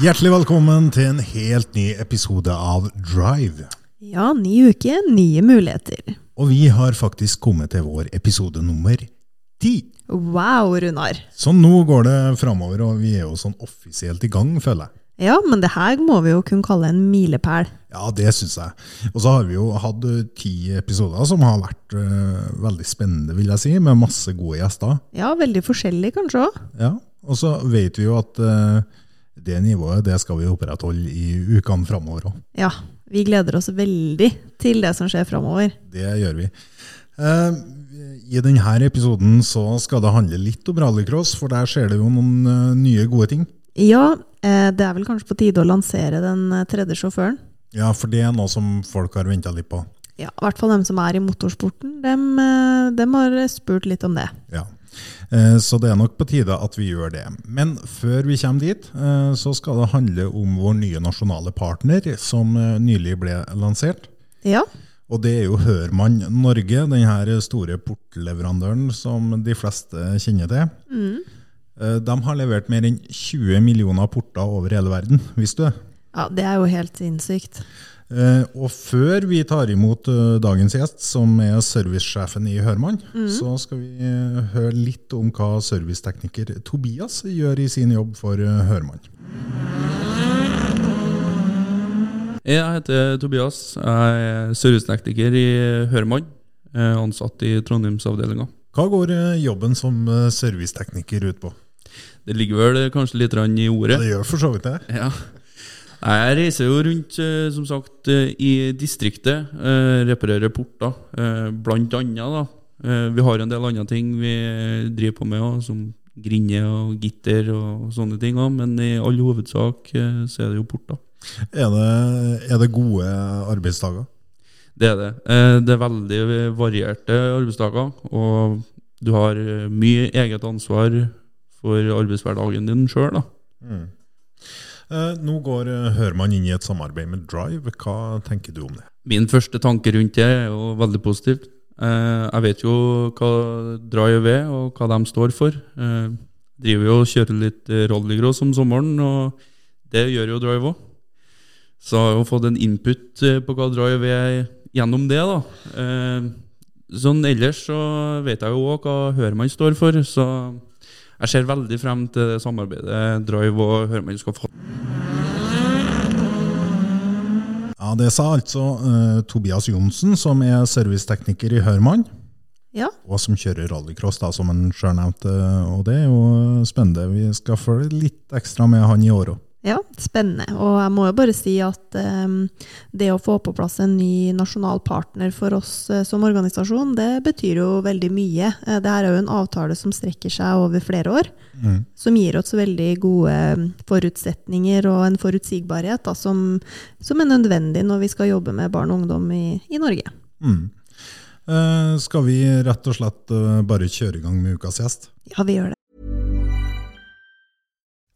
Hjertelig velkommen til en helt ny episode av Drive. Ja, ny uke, nye muligheter. Og vi har faktisk kommet til vår episode nummer ti. Wow, Runar. Så nå går det framover, og vi er jo sånn offisielt i gang, føler jeg. Ja, men det her må vi jo kunne kalle en milepæl. Ja, det syns jeg. Og så har vi jo hatt eh, ti episoder som har vært eh, veldig spennende, vil jeg si, med masse gode gjester. Ja, veldig forskjellig kanskje òg. Ja, Og så vet vi jo at eh, det nivået det skal vi opprettholde i ukene framover òg. Ja, vi gleder oss veldig til det som skjer framover. Det gjør vi. Eh, I denne episoden så skal det handle litt om rallycross, for der skjer det jo noen eh, nye, gode ting. Ja, eh, det er vel kanskje på tide å lansere den eh, tredje sjåføren. Ja, for det er noe som folk har venta litt på. Ja, i hvert fall dem som er i motorsporten. Dem, eh, dem har spurt litt om det. Ja. Eh, Så det er nok på tide at vi gjør det. Men før vi kommer dit, eh, så skal det handle om vår nye nasjonale partner, som eh, nylig ble lansert. Ja, Og det er jo Hørmann Norge, den her store portleverandøren som de fleste kjenner til. Eh, De har levert mer enn 20 millioner porter over hele verden, visste du det? ja det er jo helt sinnssykt. Eh, Og før vi tar imot eh, dagens gjest, som er servicesjefen i Hørmann, så skal vi eh, høre litt om hva servicetekniker Tobias gjør i sin jobb for eh, Hørmann. Jeg heter Tobias. Jeg er servicetekniker i Høremann. eh, Ansatt i Trondheimsavdelinga. Hva går eh, jobben som eh, servicetekniker ut på? Det ligger vel kanskje litt grann i Ja, ordet. det gjør for så vidt det. Ja. Nei, Jeg reiser jo rundt eh, som sagt, eh, i distriktet, eh, reparerer porter, eh, blant annet. Da. Eh, Vi har en del andre ting vi driver på med, også, som grinder og gitter og sånne ting. også, Men i all hovedsak eh, så er det jo porter. Er det, er det gode arbeidsdager? Det er det. Eh, Det er veldig varierte arbeidsdager, og du har eh, mye eget ansvar for arbeidshverdagen din sjøl. Eh, Nå går eh, Hørmann inn i et samarbeid med Drive. Hva tenker du om det? Min første tanke rundt det er jo veldig positivt. Eh, Jeg vet jo hva Drive er, og hva de står for. Eh, Driver jo og kjører litt eh, rallycross om sommeren, og det gjør jo Drive òg. Så jeg har jo fått en input eh, på hva Drive er gjennom det, da. Eh, Sånn ellers så vet jeg jo òg hva Hørmann står for, så jeg ser veldig frem til det samarbeidet Drive og Hørmann skal få. Ja, Det sa altså eh, Tobias Johnsen, som er servicetekniker i Hørmann. Ja, og som kjører rallycross, da, eh, som han sjøl nevnte. Og det er jo spennende. Vi skal følge litt ekstra med han i år òg. Ja, spennende. Og jeg må jo bare si at eh, det å få på plass en ny nasjonal partner for oss eh, som organisasjon, det betyr jo veldig mye. Eh, det her er jo en avtale som strekker seg over flere år, Mm. som gir oss veldig gode ehm, forutsetninger og en forutsigbarhet da, som, som er nødvendig når vi skal jobbe med barn og ungdom i, i Norge. Mm. Eh, skal vi rett og slett eh, bare kjøre i gang med ukas gjest? Ja, vi gjør det.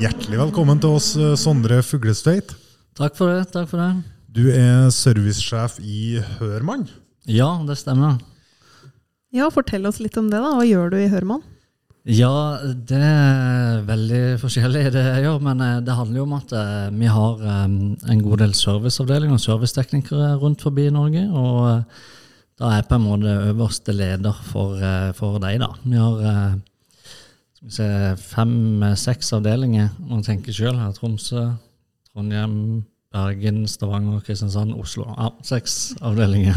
Hjertelig velkommen til oss, eh, Sondre Fuglestveit. Takk for det. takk for det. Du er servicesjef i Hørmann. Ja, det stemmer. Ja, fortell oss litt om det, da. Hva gjør du i Hørmann? Ja, det er veldig forskjellig det jeg gjør, men eh, det handler jo om at eh, vi har eh, en god del serviceavdelinger og serviceteknikere rundt forbi i Norge, og eh, da er jeg på en måte øverste leder for, eh, for deg, da. Vi har eh, skal vi se, fem-seks avdelinger, man tenker sjøl her. Tromsø, Trondheim, Bergen, Stavanger, Kristiansand, Oslo. Ja, seks avdelinger.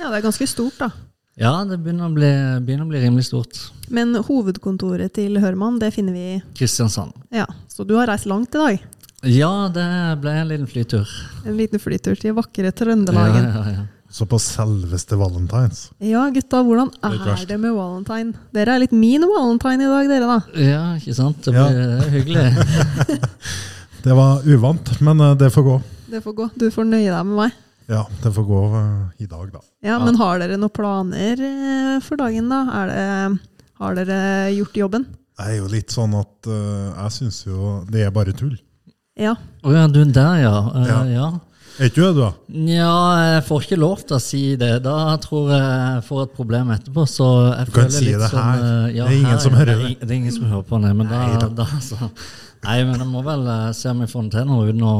Ja, det er ganske stort, da. Ja, det begynner å bli, begynner å bli rimelig stort. Men hovedkontoret til Hørmann, det finner vi Kristiansand. Ja, så du har reist langt i dag. Ja, det ble en liten flytur. En liten flytur til vakre Ja, Trøndelagen. ja, ja. Så på selveste valentines. Ja, gutta, hvordan er ikke er verst. det med valentine? Dere er litt min valentine i dag, dere, da. ja ikke sant? Det Ja. blir det er hyggelig. Det var uvant, men eh, det får gå. Det får gå. Du får nøye deg med meg. Ja, det får gå eh, i dag, da. Ja, Men har dere noen planer eh, for dagen, da? Er det, har dere gjort jobben? Det er jo litt sånn at eh, jeg syns jo det er bare tull. Ja. Å ja, du er der, ja. Eh, Ja. ja. Er ikke det, du, da? Nja, jeg får ikke lov til å si det. Da tror jeg jeg får et problem etterpå. Så jeg Du kan føler si litt det sånn, her. eh, ja, Det er ingen her, som ja. hører det. er ing- Det er ingen som hører på, nei. Men da, Nei da. da så. Nei, men jeg må vel eh, se om jeg får det til nå, uten å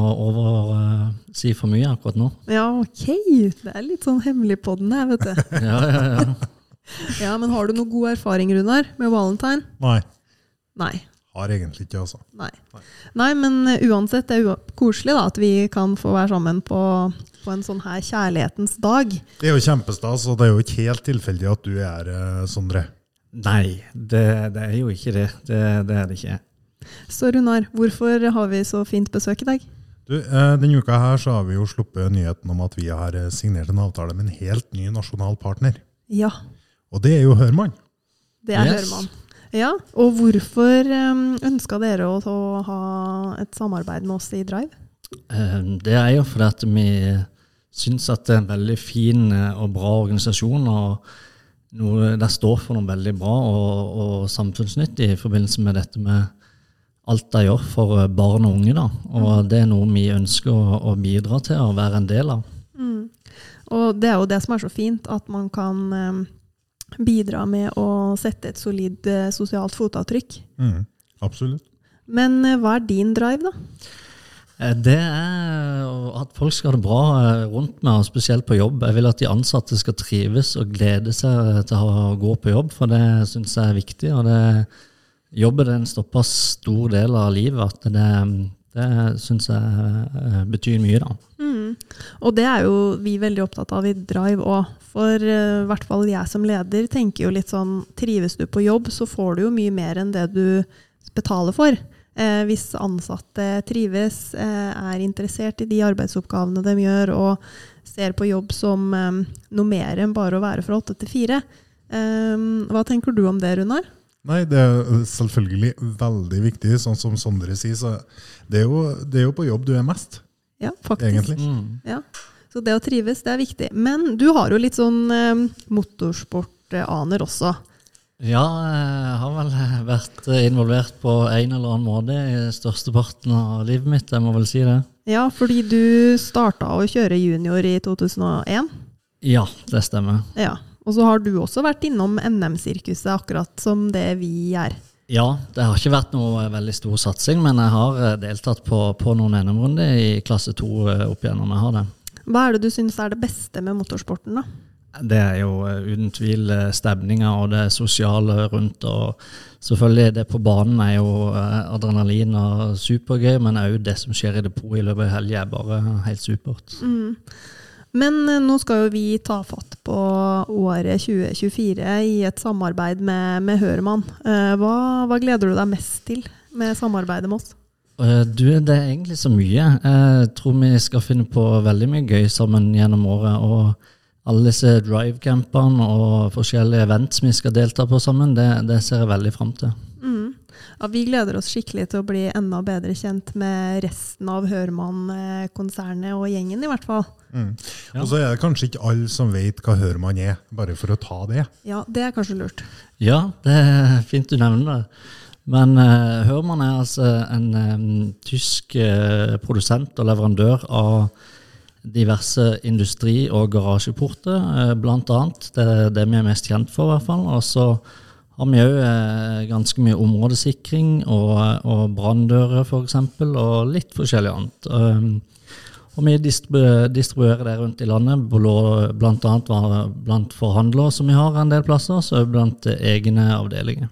oversi for mye akkurat nå. ja, ok. Det er litt sånn hemmelig på den her, vet du. Ja, ja, ja. Ja, men har du noe god erfaring, Runar, med valentine? Nei. Nei. Har egentlig ikke, altså. Nei, Nei men eh, uansett, det er ua- koselig da, at vi kan få være sammen på, på en sånn her kjærlighetens dag. Det er jo kjempestas, og det er jo ikke helt tilfeldig at du er her, eh, Sondre. Nei, det, det er jo ikke det. Det, det er det ikke. Så Runar, hvorfor har vi så fint besøk i dag? Du, eh, Denne uka her så har vi jo sluppet nyheten om at vi har eh, signert en avtale med en helt ny nasjonal partner. Ja, Og det er jo Hørmann. det er Yes. Hørmann. Ja, og hvorfor um, ønska dere å, å ha et samarbeid med oss i Drive? Eh, Det er jo fordi at vi syns at det er en veldig fin eh, og bra organisasjon. og noe, Det står for noe veldig bra og, og samfunnsnyttig i forbindelse med dette med alt de gjør for eh, barn og unge. da. Og det er noe vi ønsker å, å bidra til og være en del av. Og det er jo det som er så fint, at man kan um, bidra med å sette et solid eh, sosialt fotavtrykk. Mm, Absolutt. Men eh, hva er din drive, da? Eh, Det er at folk skal ha det bra eh, rundt meg, og spesielt på jobb. Jeg vil at de ansatte skal trives og glede seg eh, til å gå på jobb, for det syns jeg er viktig. og det, Jobben er en såpass stor del av livet at det, det syns jeg eh, betyr mye. da. Og det er jo vi veldig opptatt av i Drive òg. For eh, i hvert fall jeg som leder tenker jo litt sånn Trives du på jobb, så får du jo mye mer enn det du betaler for. Eh, hvis ansatte trives, eh, er interessert i de arbeidsoppgavene de gjør, og ser på jobb som eh, noe mer enn bare å være fra åtte til fire, Ehm, hva tenker du om det, Runar? Nei, det er selvfølgelig veldig viktig. Sånn som Sondre sier, så det er jo, det er jo på jobb du er mest, Ja, faktisk. egentlig. Mm. Ja. Så det å trives, det er viktig. Men du har jo litt sånn eh, motorsportaner også. Ja, jeg har vel eh, vært involvert på en eller annen måte i størsteparten av livet mitt, jeg må vel si det. Ja, fordi du starta å kjøre junior i 2001. Ja, det stemmer. Ja. Og så har du også vært innom NM-sirkuset, akkurat som det vi er. Ja, det har ikke vært noe eh, veldig stor satsing, men jeg har eh, deltatt på, på noen NM-runder i klasse 2 eh, opp igjennom jeg har det. Hva er det du syns er det beste med motorsporten, da? Det er jo eh, uten tvil eh, stemninga og det sosiale rundt. og Selvfølgelig, det på banen er jo eh, adrenalin og supergøy, men òg det som skjer i depotet i løpet av helga, er bare helt supert. Men eh, nå skal jo vi ta fatt på året 2024 i et samarbeid med, med Hørmann. Eh, Hva, hva gleder du deg mest til med samarbeidet med oss? Eh, Du, det er egentlig så mye. Jeg tror vi skal finne på veldig mye gøy sammen gjennom året. Og alle disse drivecampene og forskjellige events vi skal delta på sammen, det, det ser jeg veldig fram til. Mm. Ja, vi gleder oss skikkelig til å bli enda bedre kjent med resten av Hørmann-konsernet og gjengen, i hvert fall. Mm. Og så er det kanskje ikke alle som vet hva Hørmann er, bare for å ta det. Ja, det er kanskje lurt. Ja, det er fint du nevner det. Men uh, Hørmann er altså en eh, tysk eh, produsent og leverandør av diverse industri- og garasjeporter, eh, blant annet. Det er det vi er mest kjent for, i hvert fall. Og så har vi òg eh, ganske mye områdesikring og, og branndører, f.eks., og litt forskjellig annet. Um, og vi distribu- distribuerer det rundt i landet, blå- blant annet var- blant forhandlere som vi har en del plasser, så også blant eh, egne avdelinger.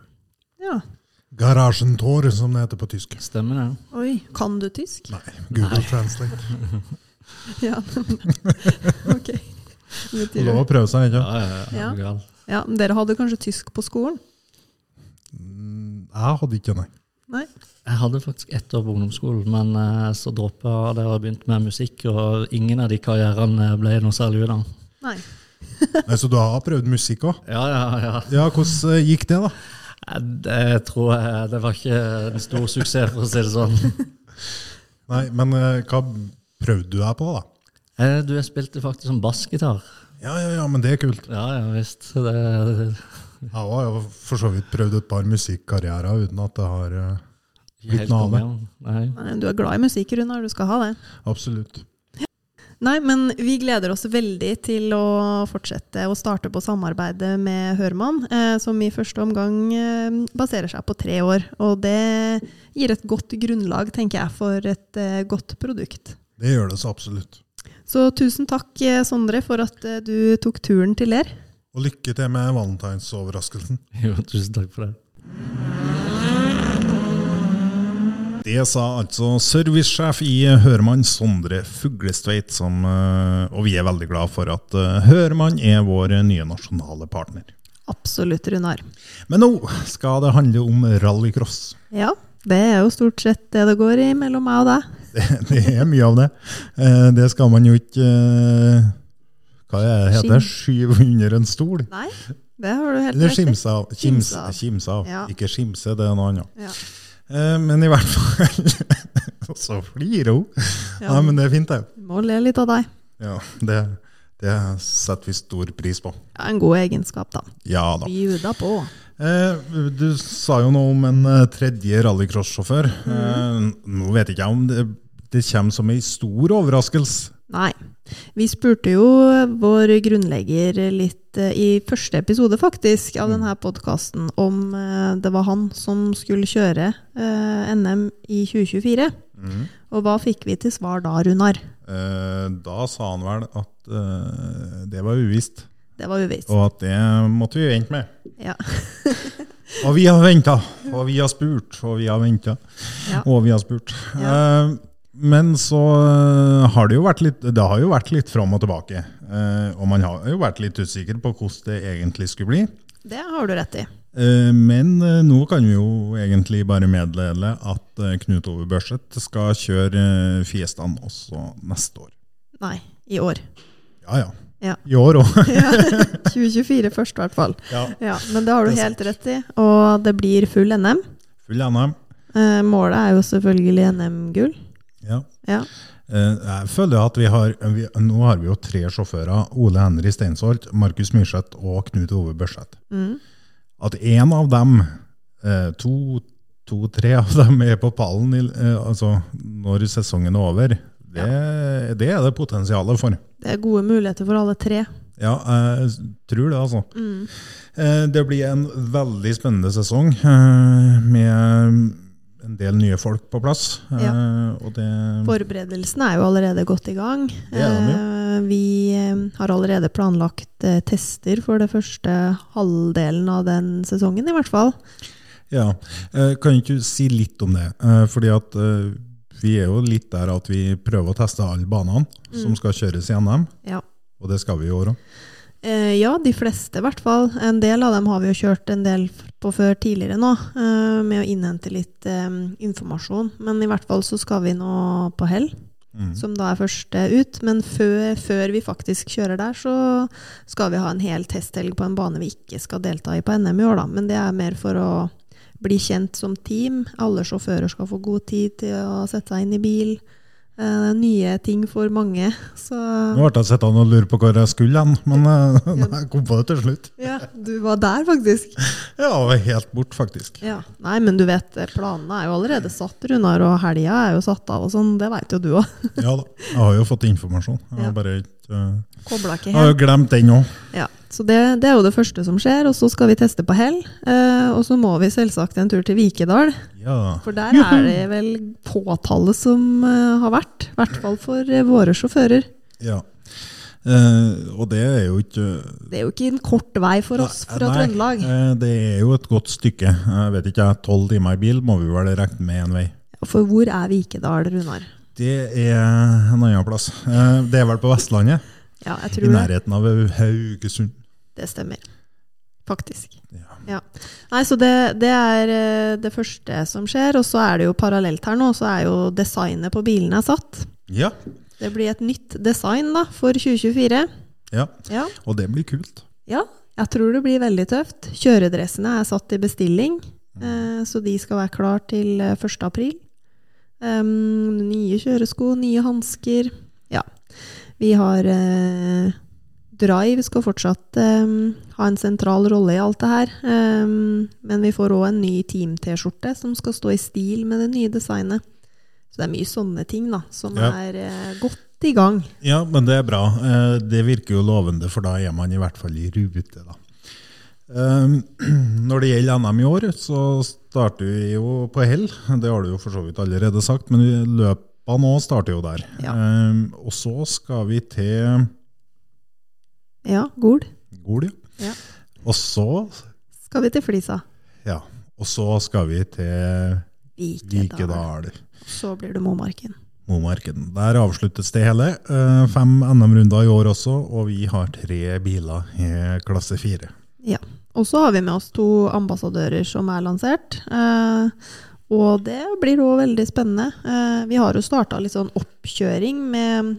Ja. Garasjentor, som det heter på tysk. Stemmer det? Oi, kan du tysk? Nei, Google Translate. Ja. ok. Det betyr Lov det. å prøve seg, ikke sant? Ja. er du gal. Ja, men dere hadde kanskje tysk på skolen? Jeg hadde ikke, nei. Nei? Jeg hadde faktisk ett år på ungdomsskolen, men eh, så droppa jeg det og begynte med musikk, og ingen av de karrierene ble noe særlig ut av. Nei. nei. Så du har prøvd musikk òg? Ja, ja, ja. Ja, hvordan eh, gikk det, da? Eh, Det tror jeg Det var ikke en stor suksess, for å si det sånn. Nei, men eh, hva prøvde du deg på, da? Eh, Du, jeg spilte faktisk som bassgitar. Ja, ja, ja, men det er kult. Ja, ja visst. Det, Jeg har jo for så vidt prøvd et par musikkarrierer uten at det har eh, Uten Helt ane. konge, Nei. Nei, Du er glad i musikk, Runar. Du skal ha det. Absolutt. Nei, men vi gleder oss veldig til å fortsette å starte på samarbeidet med Hørmann, eh, som i første omgang eh, baserer seg på tre år. Og det gir et godt grunnlag, tenker jeg, for et eh, godt produkt. Det gjør det så absolutt. Så tusen takk, eh, Sondre, for at eh, du tok turen til Ler. Og lykke til med valentinsoverraskelsen. Jo, tusen takk for det. Det sa altså servicesjef i Hørmann, Sondre Fuglestveit, som, eh, og vi er veldig glad for at eh, Hørmann er vår nye nasjonale partner. Absolutt, Runar. Men nå skal det handle om rallycross. Ja, det er jo stort sett det det går i mellom meg og deg. Det, det er mye av det. Eh, Det skal man jo ikke eh, Hva er det heter? Skyve under en stol? Nei, det har du helt Eller rett i. skimse av. Kimse, Kimse av. kimse av. Ja. Ikke skimse, det er noe annet. Ja. Eh, Men i hvert fall Og så flirer hun! Ja. Nei, men det er fint, det. Må le litt av deg. Ja, det, det setter vi stor pris på. Ja, en god egenskap, da. Ja da. Bjuda på. Eh, du sa jo noe om en eh, tredje rallycross-sjåfør. Mm. Eh, nå vet ikke jeg om det, det kommer som ei stor overraskelse. Nei. Vi spurte jo vår grunnlegger litt eh, i første episode faktisk av denne podkasten om eh, det var han som skulle kjøre eh, NM i 2024. Og hva fikk vi til svar da, Runar? Eh, da sa han vel at eh, det var uvisst, Det var uvisst. og at det måtte vi vente med. Ja. Og vi har venta, og vi har spurt, og vi har venta, Ja. og vi har spurt. Eh, men så eh, har det jo vært litt Det har jo vært litt fram og tilbake. Eh, og man har jo vært litt usikker på hvordan det egentlig skulle bli. Det har du rett i. Eh, men eh, nå kan vi jo egentlig bare meddele at eh, Knut Ove Børseth skal kjøre eh, Fiestaen også neste år. Nei, i år. Ja ja. Ja. I år òg. Ja, 2024 først, i hvert fall. Ja. Ja, men det har Det du er helt rett i. Og det blir full NM. Full NM. Eh, målet er jo selvfølgelig NM-gull. Ja. Ja. Eh, Jeg føler at vi har vi, Nå har vi jo tre sjåfører. Ole Henry Steinsholt, Markus Myrseth og Knut Ove Børseth. Mm. At én av dem, eh, to, to, tre av dem, er på pallen i, eh, altså, når sesongen er over, det, det er det potensialet for. Det er gode muligheter for alle tre. Ja, jeg tror det, altså. Mm. Eh, Det blir en veldig spennende sesong eh, med en del nye folk på plass. eh, Ja. Og det, Forberedelsene er jo allerede godt i gang. Mm. Det er de, Eh, Vi eh, har allerede planlagt eh, tester for det første halvdelen av den sesongen, i hvert fall. ja. Eh, Kan ikke du si litt om det? Eh, Fordi at eh, vi er jo litt der at vi prøver å teste alle banene som Mm. skal kjøres i NM, Ja. og det skal vi i år òg. Eh, ja, de fleste i hvert fall. En del av dem har vi jo kjørt en del på før tidligere nå, eh, med å innhente litt eh, informasjon. Men i hvert fall så skal vi nå på hell, som da er første ut. Men før, før vi faktisk kjører der, så skal vi ha en hel testhelg på en bane vi ikke skal delta i på NM i år, da. Men det er mer for å bli kjent som team. Alle sjåfører skal få god tid til å sette seg inn i bil. Eh, nye ting for mange. Så Nå ble jeg sittende og lure på hvor jeg skulle hen, men eh, jeg kom på det til slutt. ja, du var der, faktisk. Ja, jeg var helt bort, faktisk. Ja. Nei, men du vet, planene er jo allerede satt, Runar, og helga er jo satt av og sånn. Det veit jo du òg. Ja da, jeg har jo fått informasjon. Jeg Ja. har bare ikke eh, Kobla ikke Jeg har jo helt. glemt den òg. Ja. Så det, det er jo det første som skjer, og så skal vi teste på hell. Eh, og så må vi selvsagt en tur til Vikedal, Ja. for der er det vel påtallet som eh, har vært. I hvert fall for eh, våre sjåfører. ja. Eh, og det er jo ikke eh, Det er jo ikke en kort vei for oss fra Nei, Trøndelag. eh, det er jo et godt stykke. Jeg vet ikke, jeg, Tolv timer i bil må vi vel regne med én vei. For hvor er Vikedal, Runar? Det er en annen plass. Eh, det er vel på Vestlandet? Ja, jeg I tror det. nærheten av Haugesund. Det stemmer. Faktisk. Ja. Ja. Nei, så det, det er eh, det første som skjer. Og så er det jo parallelt her nå, så er jo designet på bilene er satt. ja. Det blir et nytt design da, for 2024. Ja. Ja. Og det blir kult. ja, jeg tror det blir veldig tøft. Kjøredressene er satt i bestilling, eh, så de skal være klar til eh, 1. april. Em, nye kjøresko, nye hansker. Ja. Vi har eh, Drive skal fortsatt em, ha en sentral rolle i alt det her. Em, men vi får òg en ny Team-T-skjorte som skal stå i stil med det nye designet. Så det er mye sånne ting da, som Ja. er eh, godt i gang. Ja, men det er bra. Eh, Det virker jo lovende, for da er man i hvert fall i rute, da. Um, Når det gjelder NM i år, så starter vi jo på hell. Det har du jo for så vidt allerede sagt, men løpene nå starter jo der. Ja. Um, Og så skal vi til Ja, Gol. Gol, Ja. Og så Skal vi til Flisa? Ja. Og så skal vi til Vikedal. Så blir det Momarken. Momarken. Der avsluttes det hele. Eh, Fem NM-runder i år også, og vi har tre biler i klasse fire. Ja. Og så har vi med oss to ambassadører som er lansert. Eh, og det blir òg veldig spennende. Eh, vi har jo starta litt sånn oppkjøring med,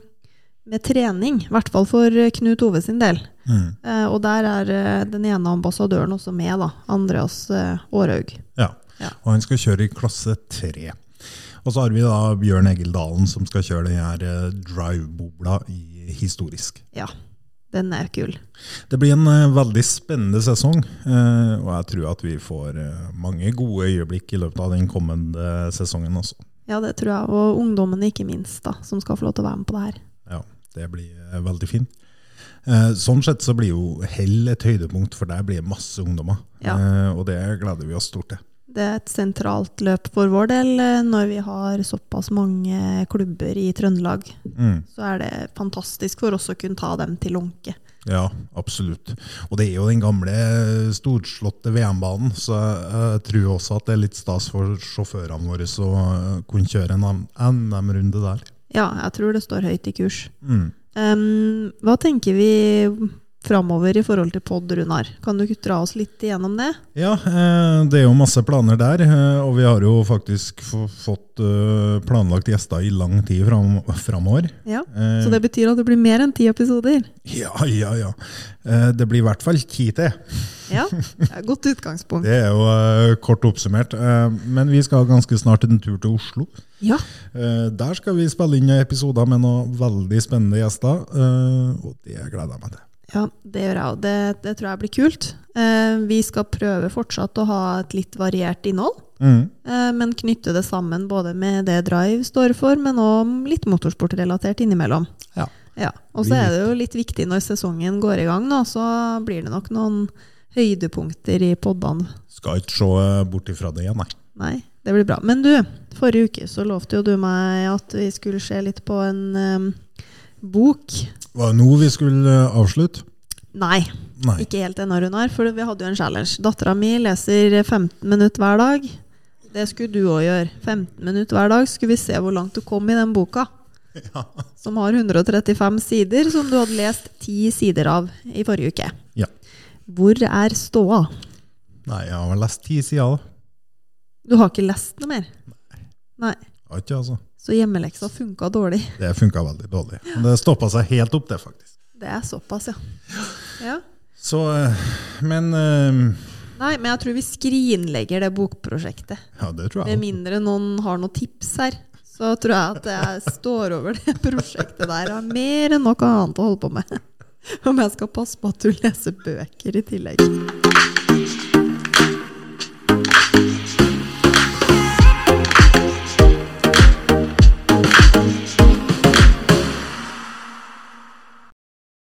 med trening, i hvert fall for eh, Knut Ove sin del. Mm. Eh, og der er eh, den ene ambassadøren også med, da. Andreas eh, Aarhaug. Ja. Ja. Og han skal kjøre i klasse 3. Og så har vi da Bjørn Egil Dalen som skal kjøre den her eh, drive-bobla i historisk. Ja. Den er kul. Det blir en eh, veldig spennende sesong, eh, og jeg tror at vi får eh, mange gode øyeblikk i løpet av den kommende eh, sesongen også. Ja, det tror jeg. Og ungdommene, ikke minst, da, som skal få lov til å være med på det her. Ja, det blir eh, veldig fint. Eh, Sånn sett så blir jo Hell et høydepunkt, for der blir det masse ungdommer. Ja. Eh, Og det gleder vi oss stort til. Det er et sentralt løp for vår del eh, når vi har såpass mange klubber i Trøndelag. Mm. Så er det fantastisk for oss å kunne ta dem til Lånke. Ja, absolutt. Og det er jo den gamle, storslåtte VM-banen, så jeg tror også at det er litt stas for sjåførene våre å eh, kunne kjøre en NM-runde der. Ja, jeg tror det står høyt i kurs. Mm. Em, hva tenker vi framover i forhold til pod, Runar? Kan du ikke dra oss litt igjennom det? Ja, eh, det er jo masse planer der, eh, og vi har jo faktisk få- fått eh, planlagt gjester i lang tid fram, framover. Ja. Eh, Så det betyr at det blir mer enn ti episoder? Ja, ja, ja. Eh, Det blir i hvert fall ti til. Ja, det er et godt utgangspunkt. Det er jo eh, kort oppsummert. Eh, Men vi skal ganske snart en tur til Oslo. Ja, Eh, Der skal vi spille inn episoder med noen veldig spennende gjester, eh, og det gleder jeg meg til. ja det gjør jeg òg. Det, det tror jeg blir kult. Eh, vi skal prøve fortsatt å ha et litt variert innhold, Mm. eh, men knytte det sammen både med det Drive står for, men òg litt motorsportrelatert innimellom. Ja. Ja, Og så er det jo litt viktig når sesongen går i gang, nå, så blir det nok noen høydepunkter i poddene Skal ikke se eh, bort ifra det igjen, nei. Nei, det blir bra. Men du, forrige uke så lovte jo du meg at vi skulle se litt på en em, bok. Det var jo nå vi skulle eh, avslutte. Nei, Nei. ikke helt ennå, Runar, for vi hadde jo en challenge. Dattera mi leser 15 minutter hver dag. Det skulle du òg gjøre. 15 minutter hver dag skulle vi se hvor langt du kom i den boka. Som har 135 sider, som du hadde lest 10 sider av i forrige uke. Ja. Hvor er ståa? Nei, jeg har vel lest ti sider, da. Du har ikke lest noe mer? Nei. Jeg har Ikke, altså. Så hjemmeleksa funka dårlig. Det funka veldig dårlig. Men det stoppa seg helt opp, det, faktisk. Det er såpass, ja. ja. Så, eh, men eh, Nei, men jeg tror vi skrinlegger det bokprosjektet. Ja, det tror Med jeg. mindre noen har noen tips her, så tror jeg at jeg står over det prosjektet der. Jeg har mer enn noe annet å holde på med. Om jeg skal passe på at du leser bøker i tillegg.